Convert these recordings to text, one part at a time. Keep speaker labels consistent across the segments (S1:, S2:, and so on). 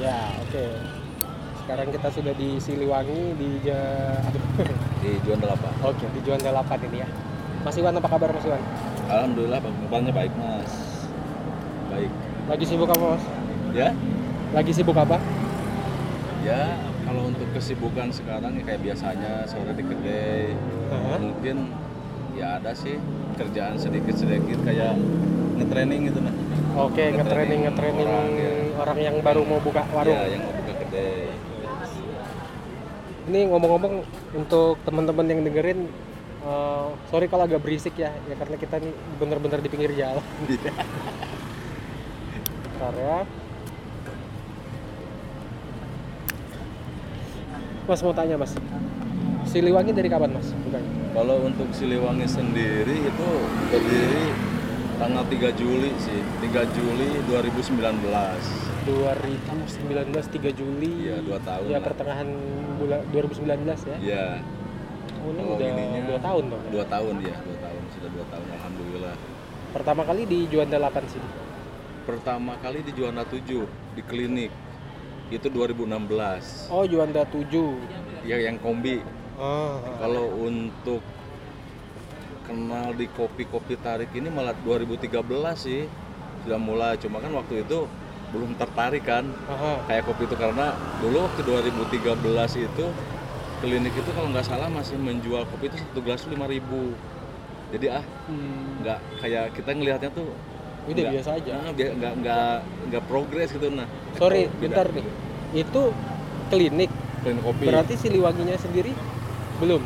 S1: Ya, oke. Sekarang kita sudah di Siliwangi di Ja- aduh.
S2: di Juan Delapan.
S1: Oke, di Juanda 8 ini ya. Mas Iwan apa kabar Mas Iwan?
S2: Alhamdulillah bang baik mas, baik.
S1: Lagi sibuk apa Mas?
S2: Ya,
S1: Lagi sibuk apa?
S2: ya kalau untuk kesibukan sekarang ya kayak biasanya sore di kedai,
S1: Hah?
S2: mungkin ya ada sih kerjaan sedikit-sedikit kayak ngetraining gitu nah.
S1: Oke, nge-training nge-training Iya. orang,
S2: Orang, ya.
S1: yang baru mau buka warung.
S2: Ya, yang mau buka kedai.
S1: Ini ngomong-ngomong untuk teman-teman yang dengerin eh, sorry kalau agak berisik ya, ya karena kita nih bener-bener di pinggir jalan.
S2: Iya.
S1: Bentar ya. Mas mau tanya Mas. Siliwangi dari kapan Mas? Bukan.
S2: Kalau untuk Siliwangi sendiri itu berdiri tanggal 3 Juli sih, 3 Juli 2019.
S1: 2019 3 Juli.
S2: Iya, 2 tahun.
S1: ya
S2: lah.
S1: pertengahan bulan 2019 ya.
S2: Iya,
S1: Oh, ini
S2: Kalau
S1: udah
S2: ininya,
S1: 2 tahun dong. ya?
S2: 2 tahun ya, 2 tahun sudah 2 tahun alhamdulillah.
S1: Pertama kali di Juanda 8 sini.
S2: Pertama kali di Juanda 7 di klinik itu 2016.
S1: Oh, Juanda 7.
S2: Ya yang kombi.
S1: Ah.
S2: Kalau untuk kenal di kopi-kopi tarik ini malah 2013 sih sudah mulai cuma kan waktu itu belum tertarik kan
S1: Aha.
S2: kayak kopi itu karena dulu waktu 2013 itu klinik itu kalau nggak salah masih menjual kopi itu satu gelas 5000 jadi ah
S1: Hmm.
S2: nggak kayak kita ngelihatnya tuh
S1: Udah
S2: nggak-
S1: biasa aja.
S2: nah, bi- nggak nggak nggak progres gitu nah
S1: Sorry,
S2: Kalau
S1: bentar
S2: tidak,
S1: nih. Itu klinik.
S2: klinik kopi
S1: Berarti Siliwanginya sendiri belum.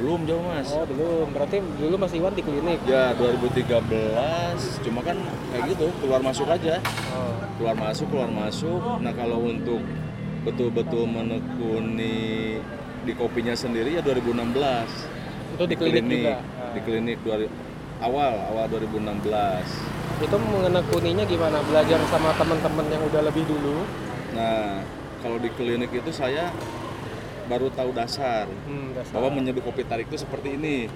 S2: belum jauh mas
S1: Oh, belum. Berarti dulu Mas Iwan di klinik.
S2: ya 2013 cuma kan kayak gitu keluar masuk aja
S1: Oh.
S2: keluar masuk keluar masuk nah kalau untuk betul-betul menekuni di kopinya sendiri ya 2016
S1: Itu di klinik, juga. Ah.
S2: di klinik dua, awal awal 2016
S1: Itu mengenekuninya gimana? Belajar sama teman-teman yang udah lebih dulu.
S2: nah kalau di klinik itu saya baru tahu dasar
S1: Hmm, dasar.
S2: bahwa menyeduh kopi tarik itu seperti ini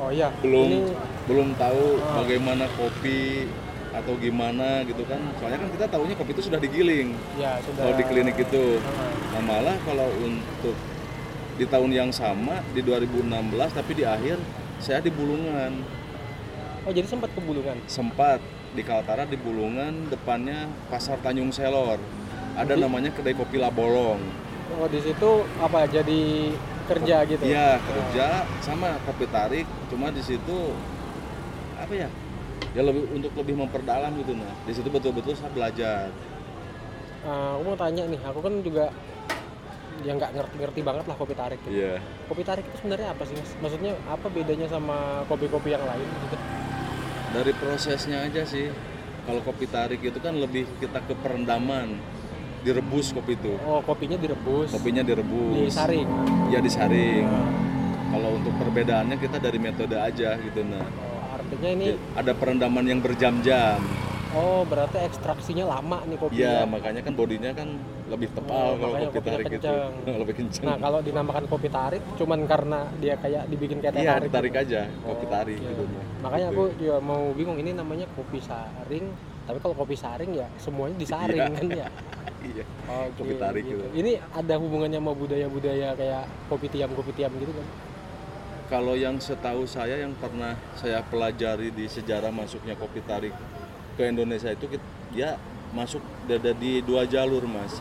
S1: Oh iya.
S2: belum
S1: Ini
S2: belum tahu
S1: Ah.
S2: bagaimana kopi atau gimana gitu kan soalnya kan kita tahunya kopi itu sudah digiling
S1: ya sudah.
S2: kalau di klinik itu
S1: Ah.
S2: nah malah kalau untuk di tahun yang sama di 2016 tapi di akhir saya di Bulungan
S1: Oh jadi sempat kebulungan.
S2: sempat di Kaltara di Bulungan depannya pasar Tanjung Selor ada namanya kedai kopi Labolong
S1: Oh di situ apa jadi kerja gitu?
S2: iya kerja sama kopi tarik cuma di situ apa ya ya lebih untuk lebih memperdalam gitu nah di situ betul-betul saya belajar
S1: Eh, aku mau tanya nih, aku kan juga yang nggak ngerti-ngerti banget lah kopi tarik. Gitu.
S2: iya
S1: Kopi tarik itu sebenarnya apa sih? Mas? Maksudnya apa bedanya sama kopi-kopi yang lain? Gitu?
S2: dari prosesnya aja sih kalau kopi tarik itu kan lebih kita ke perendaman direbus kopi itu
S1: Oh kopinya direbus,
S2: kopinya direbus
S1: disaring.
S2: ya disaring
S1: Oh,
S2: kalau untuk perbedaannya kita dari metode aja gitu nah
S1: Oh, artinya ini,
S2: Ya, ada perendaman yang berjam-jam.
S1: oh berarti ekstraksinya lama nih
S2: Iya,
S1: kopinya.
S2: makanya kan bodinya kan lebih
S1: Oh,
S2: tebal kalau
S1: makanya
S2: kopi
S1: kopinya
S2: tarik itu.
S1: kencang.
S2: lebih kencang.
S1: Nah kalau dinamakan kopi tarik, cuman karena dia kayak dibikin kayak teh
S2: iya,
S1: tarik.
S2: tarik, aja kopi
S1: Oh,
S2: tarik
S1: iya.
S2: gitu.
S1: Makanya aku juga mau bingung ini namanya kopi saring, tapi kalau kopi saring ya semuanya disaring
S2: Iya.
S1: kan ya.
S2: Iya.
S1: Oh,
S2: Kopi tarik gitu.
S1: Ini ada hubungannya sama budaya-budaya kayak kopi tiam kopi tiam gitu kan?
S2: Kalau yang setahu saya yang pernah saya pelajari di sejarah masuknya kopi tarik ke Indonesia itu kit- dia masuk dada di dua jalur, Mas.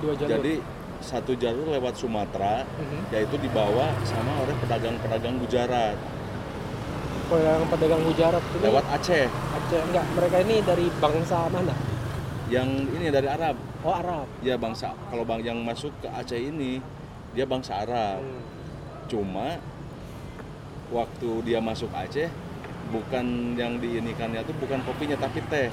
S1: Dua jalur.
S2: Jadi satu jalur lewat Sumatera
S1: Mhm.
S2: yaitu dibawa sama oleh pedagang-pedagang Gujarat
S1: pedagang-pedagang Gujarat ini
S2: lewat Aceh
S1: Aceh enggak? Mereka ini dari bangsa mana?
S2: yang ini dari Arab
S1: Oh Arab.
S2: dia bangsa kalau bang yang masuk ke Aceh ini dia bangsa Arab
S1: Hmm.
S2: cuma waktu dia masuk Aceh bukan yang diinikannya tuh bukan kopinya tapi teh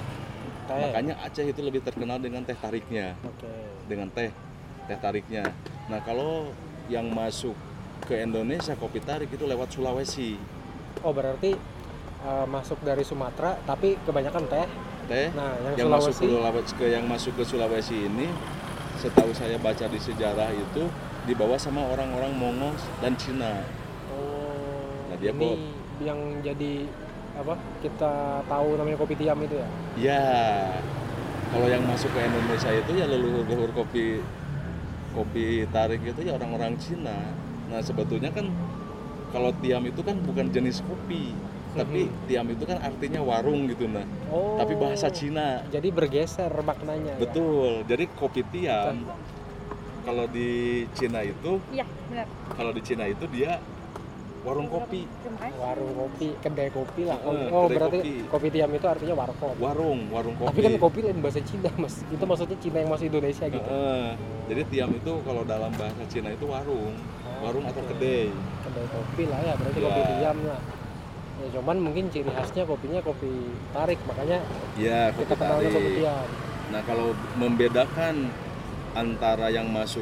S1: Teh.
S2: Makanya Aceh itu lebih terkenal dengan teh tariknya,
S1: Oke.
S2: dengan teh teh tariknya. Nah kalau yang masuk ke Indonesia kopi tarik itu lewat Sulawesi,
S1: Oh berarti eh, masuk dari Sumatera tapi kebanyakan teh.
S2: teh
S1: Nah yang,
S2: yang masuk ke
S1: Sulawesi.
S2: Sulawesi ke yang masuk ke Sulawesi ini setahu saya baca di sejarah itu dibawa sama orang-orang Mongol dan Cina.
S1: Oh.
S2: Nah, dia
S1: ini yang jadi apa? Kita tahu namanya kopi tiam itu ya.
S2: Ya, kalau yang masuk ke Indonesia itu ya leluhur-leluhur kopi kopi tarik itu ya orang-orang Cina. Nah sebetulnya kan kalau tiam itu kan bukan jenis kopi, tapi tiam itu kan artinya warung gitu nah.
S1: Oh.
S2: Tapi bahasa Cina.
S1: Jadi bergeser maknanya. ya?
S2: Betul. Jadi kopi tiam kalau di Cina itu
S3: Iya, benar.
S2: kalau di Cina itu dia warung kopi,
S3: Terima kasih.
S1: Warung kopi, kedai kopi lah.
S2: Eh,
S1: oh
S2: kedai
S1: berarti
S2: kopi.
S1: kopi. tiam itu artinya warkop.
S2: warung, warung kopi.
S1: Tapi kan kopi lain bahasa Cina mas. Itu maksudnya Cina yang masuk Indonesia gitu.
S2: Heeh. Jadi tiam itu kalau dalam bahasa Cina itu warung,
S1: Oh,
S2: warung atau kedai.
S1: kedai kopi lah ya berarti
S2: Ya.
S1: kopi diam lah ya cuman mungkin ciri khasnya kopinya kopi tarik makanya
S2: Ya,
S1: kita
S2: kopi
S1: kenalnya kopi
S2: tarik.
S1: diam
S2: Nah, kalau membedakan antara yang masuk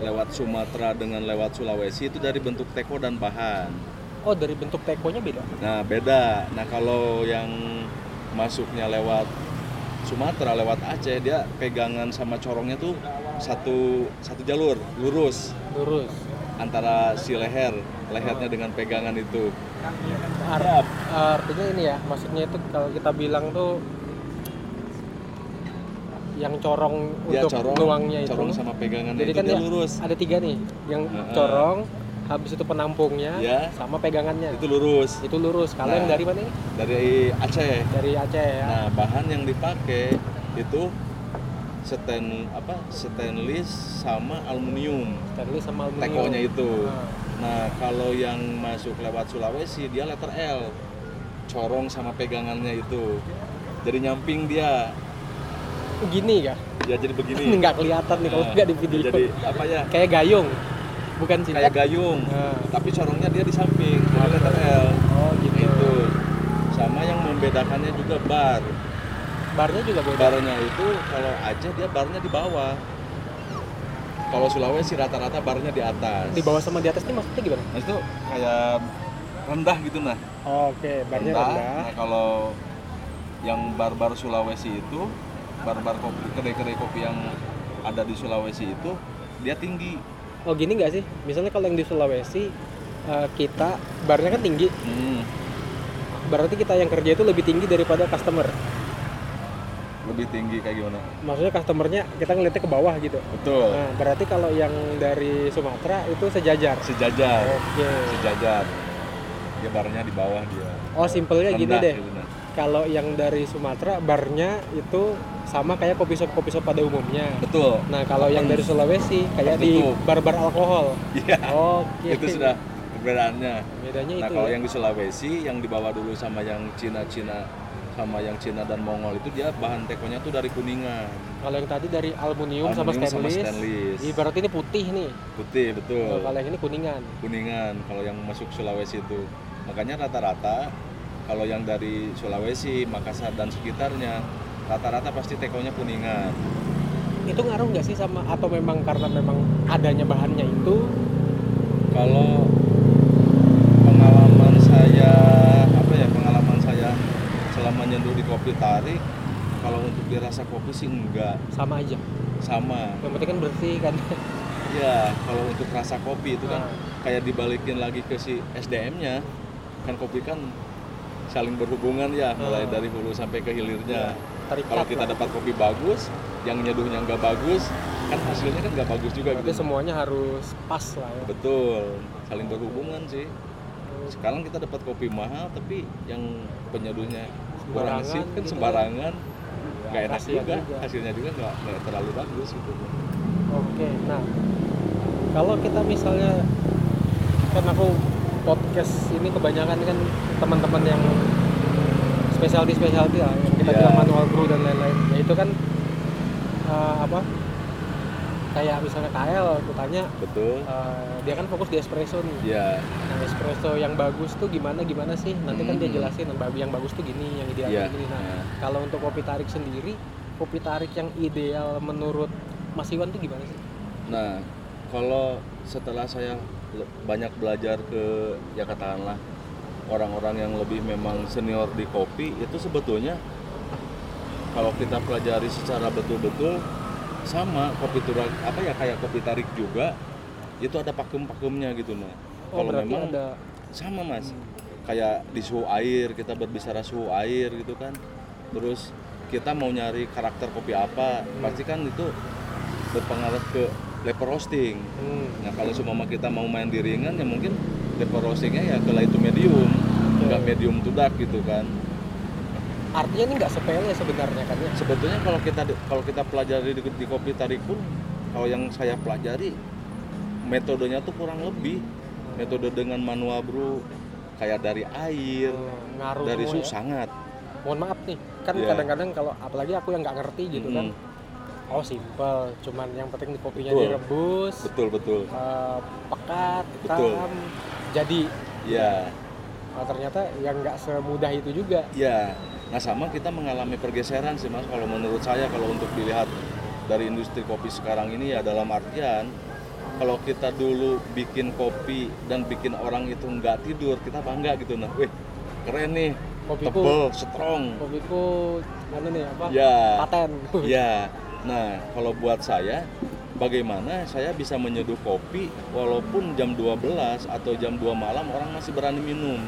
S2: lewat Sumatera dengan lewat Sulawesi itu dari bentuk teko dan bahan.
S1: oh dari bentuk tekonya beda
S2: Nah, beda. Nah, kalau yang masuknya lewat Sumatera lewat Aceh dia pegangan sama corongnya tuh satu satu jalur lurus
S1: lurus
S2: antara si leher
S1: Oh.
S2: lehernya dengan pegangan itu Ya.
S1: Ar- artinya ini ya maksudnya itu kalau kita bilang tuh yang corong
S2: dia
S1: untuk
S2: Ya, corong
S1: luangnya itu
S2: corong sama pegangannya
S1: Jadi
S2: itu
S1: kan
S2: dia
S1: ya-
S2: lurus
S1: ada tiga nih yang
S2: Heeh.
S1: corong habis itu penampungnya
S2: ya
S1: sama pegangannya
S2: itu
S1: itu,
S2: lurus
S1: lurus kalau
S2: Nah.
S1: yang dari mana nih
S2: dari Aceh
S1: dari Aceh ya
S2: Nah, bahan yang dipakai itu stand apa? stainless sama aluminium.
S1: stainless sama aluminium
S2: Tekonya itu.
S1: Nah.
S2: Nah, kalau yang masuk lewat Sulawesi dia letter L. Corong sama pegangannya itu. Jadi nyamping dia.
S1: gini ya
S2: Ya jadi begini.
S1: nggak kelihatan nih kalau
S2: Nah,
S1: nggak di video
S2: Jadi apa ya?
S1: kayak gayung bukan silet
S2: Kayak gayung.
S1: Nah.
S2: Tapi corongnya dia di samping. Jadi letter L.
S1: oh gitu
S2: Nah, Itu. Sama yang membedakannya juga bar.
S1: barnya juga beda
S2: barnya itu kalau Aceh dia barnya di bawah kalau Sulawesi rata-rata barnya di atas
S1: di bawah sama di atas ini maksudnya gimana
S2: nah, itu kayak rendah gitu nah
S1: oke barnya
S2: rendah,
S1: rendah
S2: nah kalau yang bar-bar Sulawesi itu bar-bar kopi kedai-kedai kopi yang ada di Sulawesi itu dia tinggi
S1: oh gini nggak sih misalnya kalau yang di Sulawesi eh, kita barnya kan tinggi
S2: Hmm,
S1: berarti kita yang kerja itu lebih tinggi daripada customer
S2: lebih tinggi kayak gimana
S1: maksudnya customernya kita ngeliatnya ke bawah gitu
S2: betul
S1: nah berarti kalau yang dari Sumatera itu sejajar
S2: sejajar
S1: oke
S2: sejajar dia barnya di bawah dia
S1: oh simpelnya gini
S2: Rendah
S1: deh
S2: gitu, nah.
S1: kalau yang dari Sumatera barnya itu sama kayak kopi shop kopi shop pada umumnya
S2: betul
S1: Nah, kalau yang dari Sulawesi kayak di
S2: Tertutup.
S1: barbar alkohol.
S2: iya
S1: Oke.
S2: itu sudah perbedaannya
S1: bedanya
S2: Nah
S1: itu.
S2: kalau
S1: ya.
S2: yang di Sulawesi yang dibawa dulu sama yang Cina-Cina sama yang Cina dan Mongol itu dia bahan tekonya tuh dari kuningan,
S1: Kalau yang tadi dari aluminium, sama
S2: Aluminium sama
S1: stainless.
S2: stainless.
S1: Ibarat ini putih nih.
S2: putih
S1: Nah,
S2: betul,
S1: kalau yang ini kuningan.
S2: kuningan kalau yang masuk Sulawesi itu. Makanya rata-rata kalau yang dari Sulawesi, Makassar dan sekitarnya rata-rata pasti tekonya kuningan.
S1: Itu ngaruh nggak sih sama atau memang karena memang adanya bahannya itu?
S2: Kalau pengalaman saya apa ya pengalaman saya selama nyentuh di kopi tarik kalau untuk dirasa kopi sih enggak
S1: sama aja.
S2: sama
S1: Yang penting kan bersih kan.
S2: Ya, kalau untuk rasa kopi itu kan
S1: Nah,
S2: kayak dibalikin lagi ke si SDM-nya. Kan kopi kan saling berhubungan ya,
S1: Ah.
S2: mulai dari hulu sampai ke hilirnya.
S1: terikat
S2: Kalau kita
S1: lah.
S2: dapat kopi bagus, yang nyeduhnya nggak bagus, kan hasilnya kan nggak bagus juga
S1: Berarti
S2: gitu.
S1: semuanya harus pas lah ya.
S2: Betul, saling berhubungan sih. Sekarang kita dapat kopi mahal, tapi yang penyeduhnya
S1: Sembarangan
S2: kurang sih kan
S1: gitu
S2: sembarangan, nggak enak
S1: Kasihan
S2: juga. Hasilnya juga nggak nggak terlalu bagus gitu.
S1: Oke, nah kalau kita misalnya kan aku podcast ini kebanyakan kan teman-teman yang specialty specialty lah yang kita
S2: Iya.
S1: bilang manual brew dan lain-lain. Ya itu kan eh, apa kayak misalnya KL aku tanya
S2: betul
S1: eh, dia kan fokus di espresso nih
S2: ya
S1: nah espresso yang bagus tuh gimana gimana sih nanti kan dia
S2: Hmm.
S1: jelasin yang bagus yang bagus tuh gini yang ideal
S2: ya
S1: tuh gini nah kalau untuk kopi tarik sendiri kopi tarik yang ideal menurut Mas Iwan tuh gimana sih
S2: Nah, kalau setelah saya le- banyak belajar ke ya katakanlah orang-orang yang lebih memang senior di kopi itu sebetulnya kalau kita pelajari secara betul-betul sama kopi turak apa ya kayak kopi tarik juga itu ada pakem-pakemnya gitu nah.
S1: oh
S2: Kalau
S1: berarti
S2: memang
S1: ada
S2: sama mas kayak di suhu air kita berbicara suhu air gitu kan terus kita mau nyari karakter kopi apa pasti kan itu berpengaruh ke level roasting
S1: hmm.
S2: nah kalau semua kita mau main di ringan ya mungkin level roastingnya ya ke light to medium nggak medium to dark gitu kan
S1: artinya ini nggak sepele sebenarnya kan ya
S2: sebetulnya kalau kita kalau kita pelajari di, di kopi tarik pun kalau yang saya pelajari metodenya tuh kurang lebih metode dengan manual brew kayak dari air
S1: Hmm, ngaruh
S2: Iya. dari
S1: semua
S2: suhu
S1: ya.
S2: sangat
S1: mohon maaf nih kan
S2: Iya.
S1: kadang-kadang kalau apalagi aku yang nggak ngerti gitu kan
S2: Mm,
S1: oh simpel cuman yang penting kopinya
S2: Betul.
S1: direbus
S2: betul betul
S1: eh, pekat hitam
S2: Betul.
S1: jadi
S2: ya
S1: eh, ternyata yang nggak semudah itu juga
S2: ya nah sama kita mengalami pergeseran sih mas kalau menurut saya kalau untuk dilihat dari industri kopi sekarang ini ya dalam artian kalau kita dulu bikin kopi dan bikin orang itu nggak tidur kita bangga gitu nah wih keren nih
S1: kopiku
S2: tebel strong
S1: kopiku anu nih apa
S2: ya
S1: paten
S2: ya nah kalau buat saya bagaimana saya bisa menyeduh kopi walaupun jam 12 atau jam 2 malam orang masih berani minum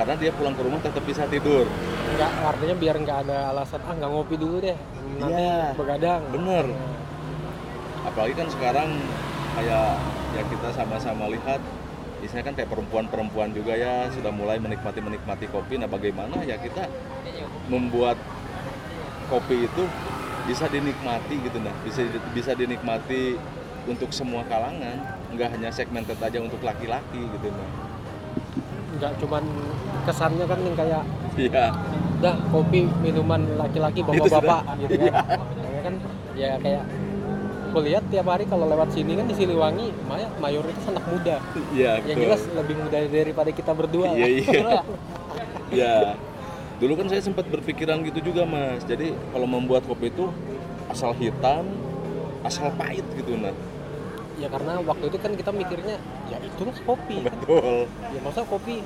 S2: karena dia pulang ke rumah tetap bisa tidur
S1: nggak artinya biar nggak ada alasan ah nggak ngopi dulu deh nanti
S2: Iya.
S1: begadang
S2: Bener.
S1: Nah,
S2: apalagi kan sekarang kayak ya kita sama-sama lihat biasanya kan kayak perempuan-perempuan juga ya sudah mulai menikmati menikmati kopi nah bagaimana ya kita membuat kopi itu bisa dinikmati gitu nah bisa bisa dinikmati untuk semua kalangan nggak hanya segmented aja untuk laki-laki gitu nah
S1: nggak cuman kesannya kan yang kayak
S2: iya
S1: dah kopi minuman laki-laki bapak-bapak gitu kan
S2: Iya.
S1: Makanya kan ya kayak gue lihat tiap hari kalau lewat sini kan di Siliwangi may- mayoritas anak muda
S2: iya
S1: yang
S2: betul.
S1: jelas lebih muda daripada kita berdua
S2: Iya, iya. ya dulu kan saya sempat berpikiran gitu juga mas jadi kalau membuat kopi itu asal hitam asal pahit gitu nah
S1: ya karena waktu itu kan kita mikirnya ya itu lah kopi kan.
S2: betul
S1: ya masa kopi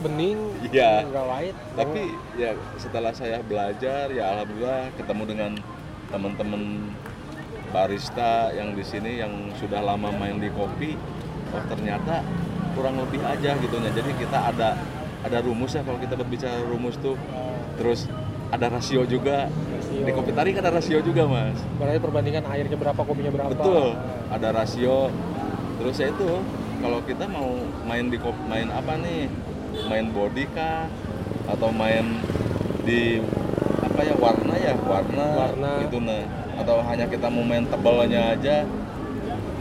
S1: bening
S2: Iya.
S1: nggak white
S2: tapi ya setelah saya belajar ya alhamdulillah ketemu dengan teman-teman barista yang di sini yang sudah lama main di kopi oh ternyata kurang lebih aja gitu nah jadi kita ada ada rumus ya kalau kita berbicara rumus tuh
S1: eh,
S2: terus ada rasio juga
S1: rasio.
S2: di kopi tarik ada rasio juga mas
S1: berarti perbandingan airnya berapa kopinya berapa
S2: Betul, ada rasio. Terus ya itu, kalau kita mau main di kop- main apa nih? Main body kah atau main di apa ya warna ya, warna,
S1: Warna.
S2: gitu nah. Atau hanya kita mau main tebalnya aja.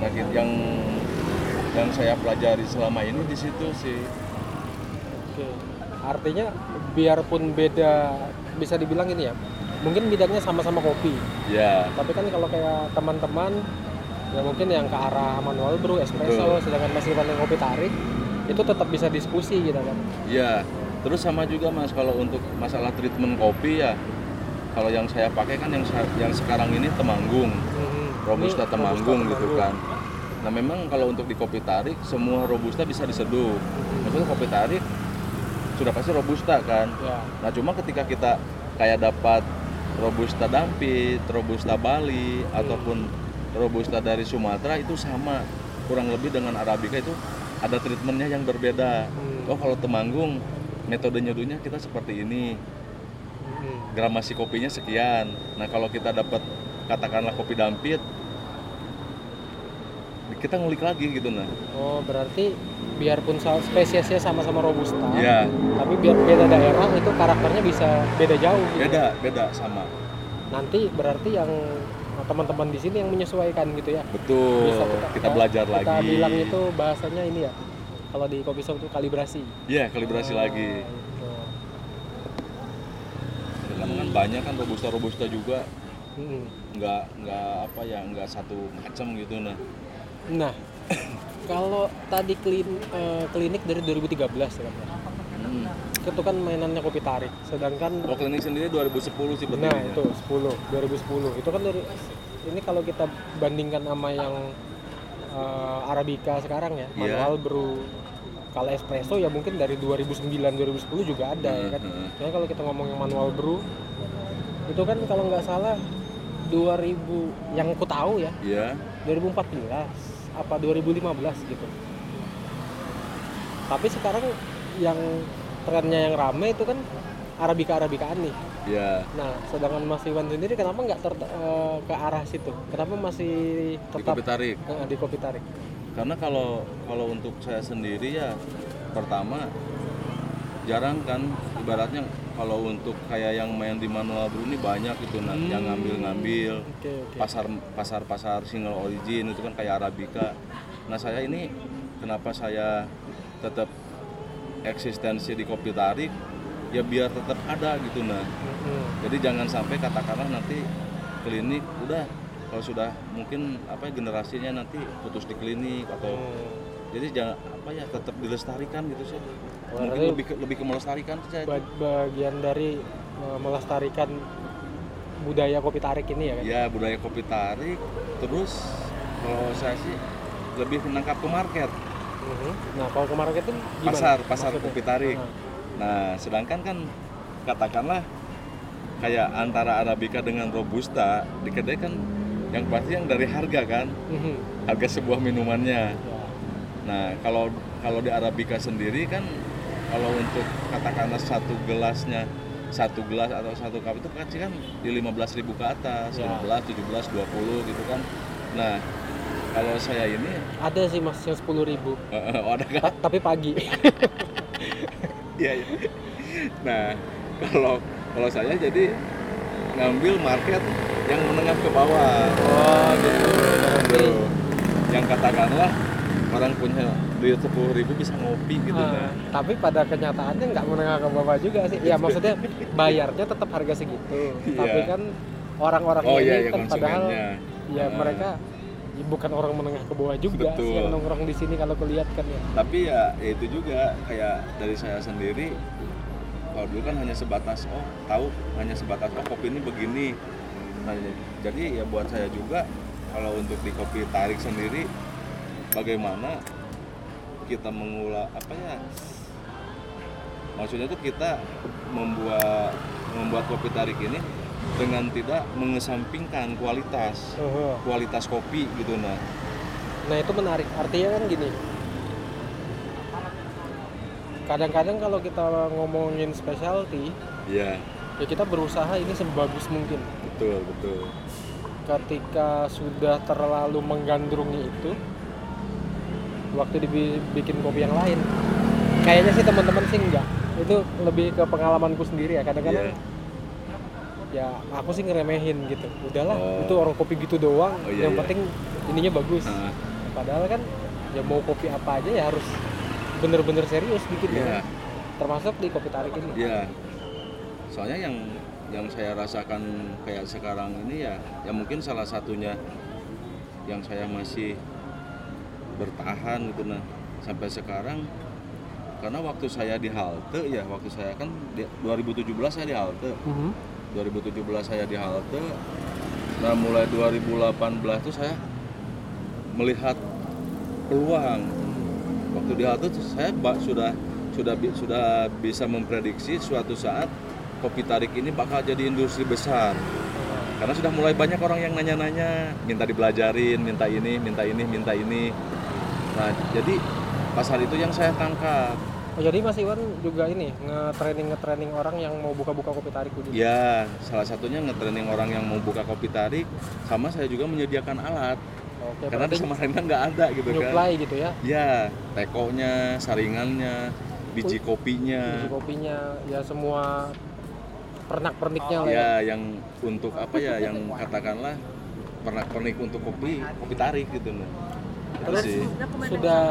S2: Nah, ki- yang yang saya pelajari selama ini di situ sih.
S1: Oke. Artinya biarpun beda bisa dibilang ini ya. Mungkin bidangnya sama-sama kopi,
S2: Ya,
S1: tapi kan kalau kayak teman-teman ya mungkin yang ke arah manual brew, espresso, sedangkan masih yang kopi tarik itu tetap bisa diskusi gitu kan.
S2: ya. Terus sama juga Mas kalau untuk masalah treatment kopi ya kalau yang saya pakai kan yang sa- yang sekarang ini Temanggung. robusta
S1: Ini
S2: temanggung gitu
S1: Temanggung.
S2: kan. Nah memang kalau untuk di kopi tarik semua robusta bisa diseduh.
S1: Mhm.
S2: Maksudnya kopi tarik sudah pasti robusta kan.
S1: Ya.
S2: Nah cuma ketika kita kayak dapat robusta dampit, robusta Bali
S1: Hmm.
S2: ataupun robusta dari Sumatera itu sama kurang lebih dengan arabica itu ada treatmentnya yang berbeda.
S1: Hmm.
S2: Oh kalau temanggung metode nyeduhnya kita seperti ini
S1: Mhm.
S2: gramasi kopinya sekian. Nah kalau kita dapat katakanlah kopi dampit, kita ngulik lagi gitu nah.
S1: Oh, berarti biarpun sa- spesiesnya sama-sama robusta,
S2: Iya,
S1: tapi biar beda daerah itu karakternya bisa beda jauh gitu.
S2: beda beda sama.
S1: nanti berarti yang teman-teman di sini yang menyesuaikan gitu ya
S2: Betul.
S1: Bisa
S2: kita,
S1: kita- ya,
S2: belajar
S1: kita
S2: lagi.
S1: bilang itu bahasanya ini ya kalau di kopi shop itu kalibrasi
S2: Iya kalibrasi
S1: Ah,
S2: lagi.
S1: gitu.
S2: Dengan banyak kan robusta robusta juga.
S1: Mm-mm.
S2: nggak nggak apa ya nggak satu macam gitu nah
S1: Nah, kalau tadi klin- eh, klinik dari 2013 ya Mas?
S2: hmm.
S1: Itu kan mainannya kopi tarik. Sedangkan
S2: Oh, klinik sendiri 2010 sih
S1: nah
S2: berdirinya.
S1: itu 10 2010 itu kan dari ini kalau kita bandingkan sama yang eh, arabica sekarang ya,
S2: Iya.
S1: manual brew. Kalau espresso ya mungkin dari 2009 2010 juga ada ya kan.
S2: Heeh.
S1: Cuma kalau kita ngomong yang manual brew itu kan kalau nggak salah 2000 yang aku tahu ya
S2: Iya.
S1: 2014 apa 2015 gitu. Tapi sekarang yang trennya yang rame itu kan Arabica Arabikaan nih.
S2: Iya.
S1: Nah, sedangkan Mas Iwan sendiri kenapa nggak ter- eh, ke arah situ? Kenapa masih
S2: Di
S1: tetap
S2: kopi tarik.
S1: eh, di kopi tarik?
S2: Karena kalau kalau untuk saya sendiri ya pertama jarang kan ibaratnya kalau untuk kayak yang main di manual brew ini banyak gitu nah yang ngambil-ngambil
S1: Oke, oke.
S2: pasar pasar pasar single origin itu kan kayak arabica nah saya ini kenapa saya tetap eksistensi di kopi tarik ya biar tetap ada gitu nah
S1: Mm-mm.
S2: jadi jangan sampai katakanlah nanti klinik udah kalau sudah mungkin apa ya, generasinya nanti putus di klinik atau
S1: Hmm.
S2: jadi jangan apa ya tetap dilestarikan gitu sih
S1: Berarti-
S2: mungkin lebih ke, lebih ke melestarikan sih saya
S1: Ba- bagian dari eh, melestarikan budaya kopi tarik ini ya kan?
S2: ya budaya kopi tarik terus kalau saya sih lebih menangkap ke market
S1: Mhm. Nah, kalau kemarin itu gimana?
S2: pasar pasar
S1: Maksudnya?
S2: kopi tarik
S1: Nah,
S2: nah sedangkan kan katakanlah kayak antara arabica dengan robusta di kedai kan yang pasti yang dari harga kan
S1: mhm.
S2: harga sebuah minumannya
S1: Ya.
S2: Nah, kalau kalau di Arabica sendiri kan kalau untuk katakanlah satu gelasnya satu gelas atau satu cup itu pasti kan di 15.000 ke atas,
S1: Ya.
S2: 15, 17, 20 gitu kan. Nah, kalau saya ini
S1: Ada sih mas yang sepuluh ribu,
S2: oh, ada kan?
S1: tapi pagi.
S2: Iya. iya. Nah, kalau kalau saya jadi ngambil market yang menengah ke bawah.
S1: Oh gitu.
S2: Tuh. Yang katakanlah orang punya duit 10.000 bisa ngopi gitu
S1: Ah.
S2: nah.
S1: tapi pada kenyataannya nggak menengah ke bawah juga sih. Ya maksudnya bayarnya tetap harga segitu. Tapi
S2: Iya.
S1: kan orang-orang
S2: Oh
S1: ini
S2: iya, ya
S1: kan padahal
S2: konsumennya.
S1: ya
S2: Ah.
S1: mereka ya, bukan orang menengah ke bawah juga sih
S2: Betul.
S1: yang nongkrong di sini kalau kulihat kan ya.
S2: tapi ya ya itu juga kayak dari saya sendiri kalau dulu kan hanya sebatas oh tahu hanya sebatas oh kopi ini begini nah j- jadi ya buat saya juga kalau untuk di kopi tarik sendiri bagaimana kita mengolah apa ya maksudnya tuh kita membuat membuat kopi tarik ini dengan tidak mengesampingkan kualitas kualitas kopi gitu nah
S1: Nah itu menarik. Artinya kan gini. Kadang-kadang kalau kita ngomongin specialty,
S2: ya
S1: ya kita berusaha ini sebagus mungkin.
S2: betul betul
S1: ketika sudah terlalu menggandrungi itu waktu dibikin kopi yang lain kayaknya sih teman-teman sih enggak itu lebih ke pengalamanku sendiri ya kadang-kadang
S2: Iya.
S1: ya aku sih ngeremehin gitu udahlah
S2: Oh.
S1: itu orang kopi gitu doang
S2: Oh, iya,
S1: yang
S2: iya.
S1: penting ininya bagus
S2: Nah,
S1: padahal kan ya mau kopi apa aja ya harus bener-bener serius bikin ya
S2: Iya.
S1: termasuk di kopi tarik ini
S2: Ya, soalnya yang yang saya rasakan kayak sekarang ini ya, ya mungkin salah satunya yang saya masih bertahan gitu nah sampai sekarang karena waktu saya di halte ya waktu saya kan di- 2017 saya di halte
S1: Mhm.
S2: 2017 saya di halte nah mulai 2018 tuh saya melihat peluang waktu di halte tuh saya ba- sudah sudah bi- sudah bisa memprediksi suatu saat kopi tarik ini bakal jadi industri besar karena sudah mulai banyak orang yang nanya-nanya minta dibelajarin minta ini minta ini minta ini nah jadi pasar itu yang saya tangkap
S1: Oh, jadi Mas Iwan juga ini nge-training nge-training orang yang mau buka-buka kopi tarik gitu.
S2: ya salah satunya ngetraining orang yang mau buka kopi tarik sama saya juga menyediakan alat
S1: Oke,
S2: karena di
S1: Ya, berarti
S2: Samarinda nggak ada gitu kan
S1: nyuplai gitu ya
S2: ya tekonya saringannya biji kopinya
S1: biji kopinya ya semua pernak perniknya lah ya
S2: ya yang untuk apa ya yang katakanlah pernak-pernik untuk kopi kopi tarik gitu nah itu
S1: Terus?
S2: sih
S1: sudah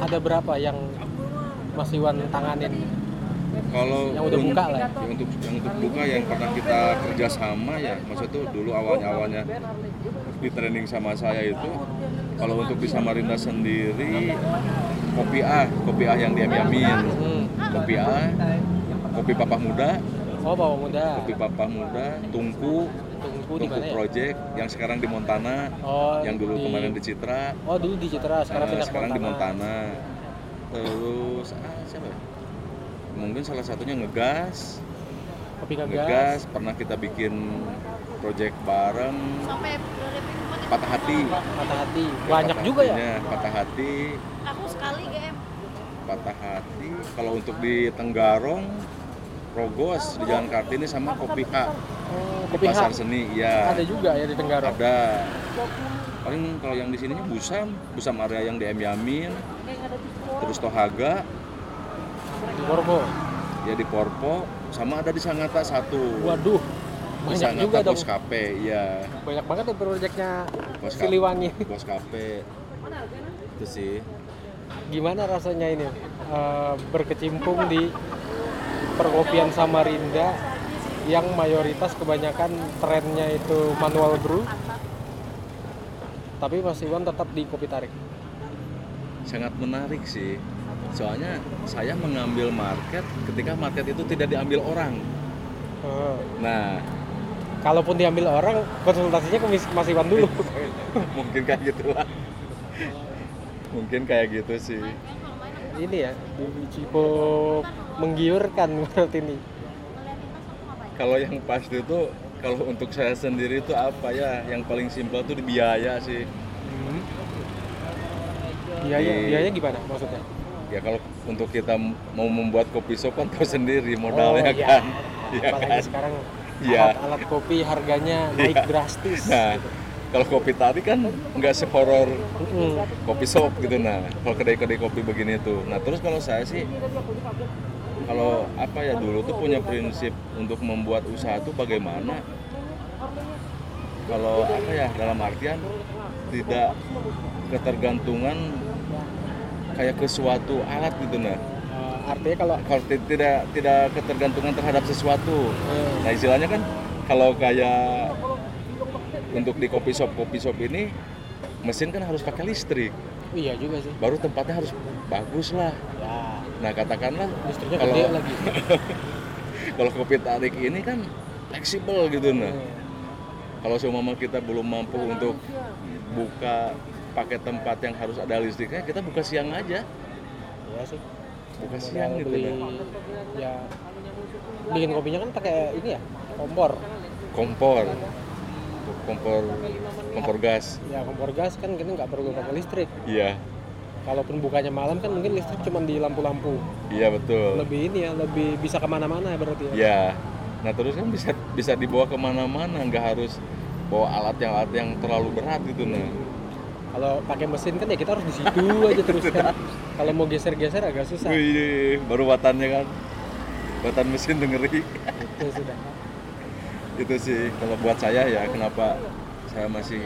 S1: ada berapa yang Mas Iwan tanganin
S2: kalau
S1: Yang udah
S2: un-
S1: buka lah ya.
S2: ya, untuk yang untuk buka yang pernah kita kerjasama ya maksud itu dulu awalnya awalnya di training sama saya itu kalau untuk di Samarinda sendiri kopi A kopi A yang diam-diamin
S1: Hmm.
S2: kopi A kopi papah muda
S1: Oh, bawa muda.
S2: kopi papah muda tungku
S1: Tunggu di
S2: tungku
S1: mana ya?
S2: project yang sekarang di Montana
S1: Oh,
S2: yang dulu kemarin di Citra
S1: Oh, dulu di Citra, sekarang
S2: Eh,
S1: pindah ke
S2: sekarang
S1: Montana.
S2: di Montana terus ah, siapa ya? mungkin salah satunya ngegas
S1: Kopi Gagas.
S2: ngegas pernah kita bikin project bareng
S3: sampai keliling rumah
S2: patah hati
S1: Patah hati. Banyak
S2: Patah
S1: juga ya.
S2: hatinya, patah hati
S3: aku sekali GM
S2: patah hati kalau untuk di Tenggarong Rogos di Jalan Kartini sama Kopi H
S1: Oh,
S2: di
S1: kopi
S2: Pasar
S1: khas.
S2: Seni ya
S1: Ada juga ya di Tenggarong.
S2: ada paling kalau yang di sininya Busam Busam area yang DM Yamin terus Tohaga
S1: Di Korpo.
S2: ya di Porpo sama ada di Sangatta satu
S1: Waduh. Banyak
S2: di
S1: juga
S2: Sangatta
S1: dong.
S2: Pos Cafe ya
S1: Banyak banget ya proyeknya
S2: Pos Cafe
S1: Siliwangi.
S2: Pos Cafe itu sih
S1: Gimana rasanya ini eh, berkecimpung di perkopian Samarinda yang mayoritas kebanyakan trennya itu manual brew tapi Mas Iwan tetap di kopi tarik.
S2: sangat menarik sih soalnya saya mengambil market ketika market itu tidak diambil orang
S1: Eh,
S2: nah
S1: kalaupun diambil orang, konsultasinya ke Mas- Mas Iwan dulu.
S2: mungkin kayak gitulah mungkin kayak gitu sih
S1: ini ya cukup menggiurkan menurut ini
S2: kalau yang pasti itu kalau untuk saya sendiri itu apa ya yang paling simpel tuh di biaya sih
S1: biaya
S2: Di-
S1: biaya gimana maksudnya
S2: ya kalau untuk kita m- mau membuat kopi shop kan tahu sendiri modalnya
S1: Oh, iya.
S2: kan iya
S1: apalagi
S2: kan
S1: sekarang
S2: Iya.
S1: alat-alat kopi harganya naik drastis
S2: nah kalau kopi tadi kan nggak sehoror
S1: Mm-mm.
S2: kopi shop gitu nah kalau kedai-kedai kopi begini tuh nah terus kalau saya sih kalau apa ya dulu tuh punya prinsip untuk membuat usaha tuh bagaimana kalau apa ya dalam artian tidak ketergantungan kayak ke suatu alat gitu nah
S1: Eh, artinya kalau
S2: kalau ti- tidak tidak ketergantungan terhadap sesuatu
S1: eh,
S2: Nah istilahnya kan kalau kayak untuk di kopi shop kopi shop ini mesin kan harus pakai listrik,
S1: iya juga sih
S2: baru tempatnya harus bagus lah.
S1: ya
S2: Nah katakanlah
S1: industrinya
S2: Kalau- Iya.
S1: gede lagi
S2: kalau kopi tarik ini kan fleksibel gitu nah.
S1: Eh,
S2: Kalau seumpama kita belum mampu untuk buka pakai tempat yang harus ada listriknya, kita buka siang aja,
S1: iya sih
S2: buka
S1: Modal
S2: siang gitu
S1: beli
S2: nah.
S1: ya bikin kopinya kan pakai ini ya kompor
S2: Kompor, kompor, kompor gas,
S1: ya kompor gas kan kita nggak perlu pakai listrik
S2: iya,
S1: kalaupun bukanya malam kan mungkin listrik cuma di lampu-lampu
S2: iya betul.
S1: lebih ini ya lebih bisa kemana-mana ya berarti ya
S2: Ya, nah terus kan bisa bisa dibawa kemana-mana, nggak harus bawa alat yang alat yang terlalu berat gitu nah.
S1: kalau pakai mesin kan ya kita harus di situ aja terus kan kalau mau geser-geser agak susah
S2: Wih, baru batannya kan, batan mesin dengeri
S1: itu sudah
S2: itu sih kalau buat saya ya kenapa saya masih